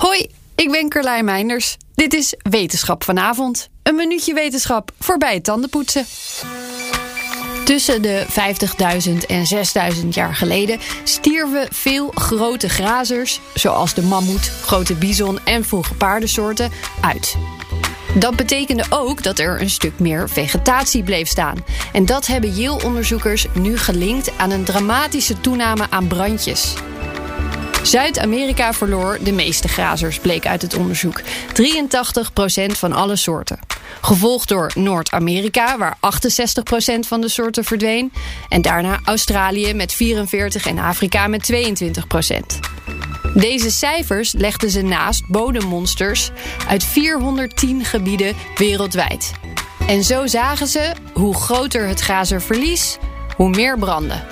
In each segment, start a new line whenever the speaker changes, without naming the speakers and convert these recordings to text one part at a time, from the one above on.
Hoi, ik ben Carlijn Meinders. Dit is Wetenschap vanavond. Een minuutje wetenschap voorbij het tandenpoetsen. Tussen de 50.000 en 6.000 jaar geleden stierven veel grote grazers, zoals de mammoet, grote bison en vroege paardensoorten, uit. Dat betekende ook dat er een stuk meer vegetatie bleef staan. En dat hebben Yale-onderzoekers nu gelinkt aan een dramatische toename aan brandjes. Zuid-Amerika verloor de meeste grazers, bleek uit het onderzoek. 83% van alle soorten. Gevolgd door Noord-Amerika, waar 68% van de soorten verdween. En daarna Australië met 44% en Afrika met 22%. Deze cijfers legden ze naast bodemmonsters uit 410 gebieden wereldwijd. En zo zagen ze hoe groter het grazerverlies, hoe meer branden.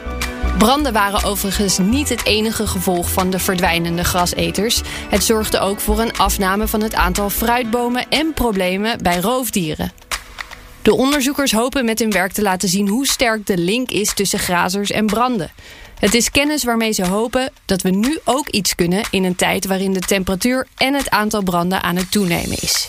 Branden waren overigens niet het enige gevolg van de verdwijnende graseters. Het zorgde ook voor een afname van het aantal fruitbomen en problemen bij roofdieren. De onderzoekers hopen met hun werk te laten zien hoe sterk de link is tussen grazers en branden. Het is kennis waarmee ze hopen dat we nu ook iets kunnen in een tijd waarin de temperatuur en het aantal branden aan het toenemen is.